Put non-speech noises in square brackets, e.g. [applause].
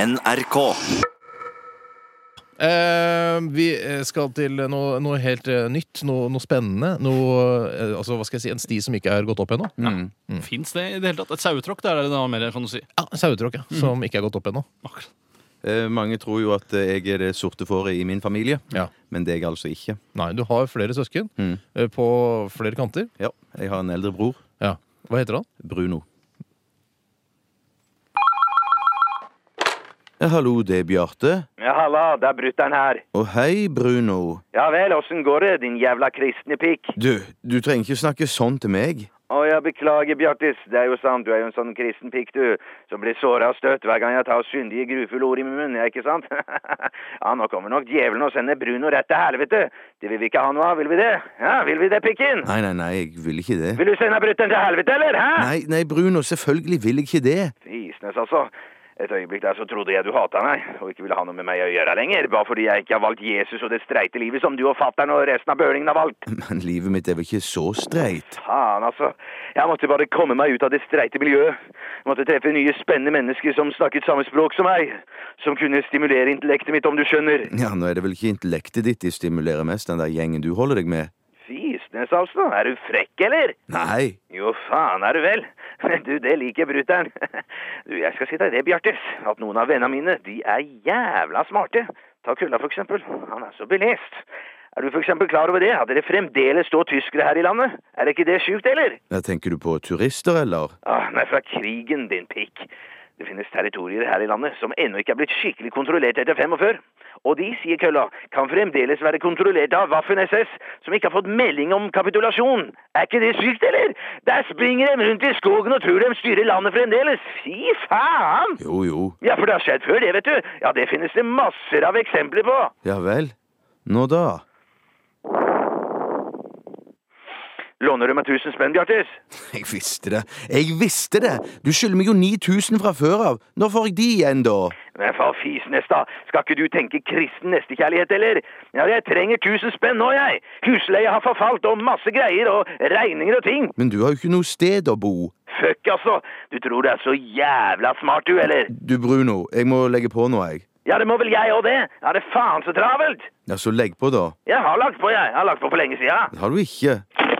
NRK. Eh, vi eh, skal til noe, noe helt eh, nytt, noe, noe spennende. Noe, eh, altså, hva skal jeg si, en sti som ikke er gått opp ennå. Fins det i det hele tatt? Et sauetråkk, det er det noe mer, kan du si. Ja, Sauetråkk, ja. Som ikke er gått opp ennå. Akkurat. Eh, mange tror jo at eh, jeg er det sorte fåret i min familie, Ja. men det er jeg altså ikke. Nei, du har flere søsken eh, på flere kanter. Ja, jeg har en eldre bror, Ja. Hva heter han? Bruno. Ja, hallo, det er Bjarte. Ja, halla, det er brutter'n her. Å, hei, Bruno. Ja vel, åssen går det, din jævla kristne pikk? Du, du trenger ikke snakke sånn til meg. Å, jeg beklager, Bjartis. Det er jo sant, du er jo en sånn kristen pikk, du. Som blir såra og støtt hver gang jeg tar syndige, grufulle ord i min munn, ja, ikke sant? [laughs] ja, nå kommer nok djevelen og sender Bruno rett til helvete. Det vil vi ikke ha noe av, vil vi det? Ja, vil vi det, pikken? Nei, nei, nei, jeg vil ikke det. Vil du sende brutter'n til helvete, eller? Hæ? Nei, nei, Bruno, selvfølgelig vil jeg ikke det. Isnes, altså. Et øyeblikk der så trodde jeg du hata meg, og ikke ville ha noe med meg å gjøre lenger, bare fordi jeg ikke har valgt Jesus og det streite livet som du og fatter'n og resten av bølingen har valgt. Men livet mitt er vel ikke så streit? Faen, altså. Jeg måtte bare komme meg ut av det streite miljøet. Jeg måtte treffe nye, spennende mennesker som snakket samme språk som meg. Som kunne stimulere intellektet mitt, om du skjønner. Ja, nå er det vel ikke intellektet ditt de stimulerer mest, den der gjengen du holder deg med. Fisnes, altså. Er du frekk, eller? Nei, Jo, faen er du vel. [laughs] Du, det liker brutter'n. [laughs] Du, jeg skal si deg det, Bjartes, at noen av vennene mine, de er jævla smarte. Ta Kulla, for eksempel. Han er så belest. Er du for eksempel klar over det, at dere fremdeles står tyskere her i landet? Er ikke det sjukt, eller? ja, tenker du på turister, eller? Ah, nei, fra krigen, din pikk. Det finnes territorier her i landet som ennå ikke er blitt skikkelig kontrollert etter 45. Og de, sier kølla, kan fremdeles være kontrollert av Waffen-SS, som ikke har fått melding om kapitulasjon. Er ikke det sykt, eller? Der springer de rundt i skogen og tror de styrer landet fremdeles. Fy faen! Jo, jo. Ja, for det har skjedd før, det, vet du. Ja, det finnes det masser av eksempler på. Ja vel. Nå da? Låner du meg 1000 spenn, Bjartis? Jeg visste det. Jeg visste det! Du skylder meg jo 9000 fra før av. Når får jeg de igjen, da? Men faen, Fisnes, da. Skal ikke du tenke kristen nestekjærlighet, eller? Ja, jeg trenger tusen spenn nå, jeg. Husleia har forfalt, og masse greier, og regninger og ting. Men du har jo ikke noe sted å bo. Fuck, altså. Du tror du er så jævla smart, du, eller? Du, Bruno, jeg må legge på nå, jeg. Ja, det må vel jeg òg, det. Er det faen så travelt? Ja, så legg på, da. Jeg har lagt på, jeg. Jeg har lagt på for lenge sida. Det har du ikke.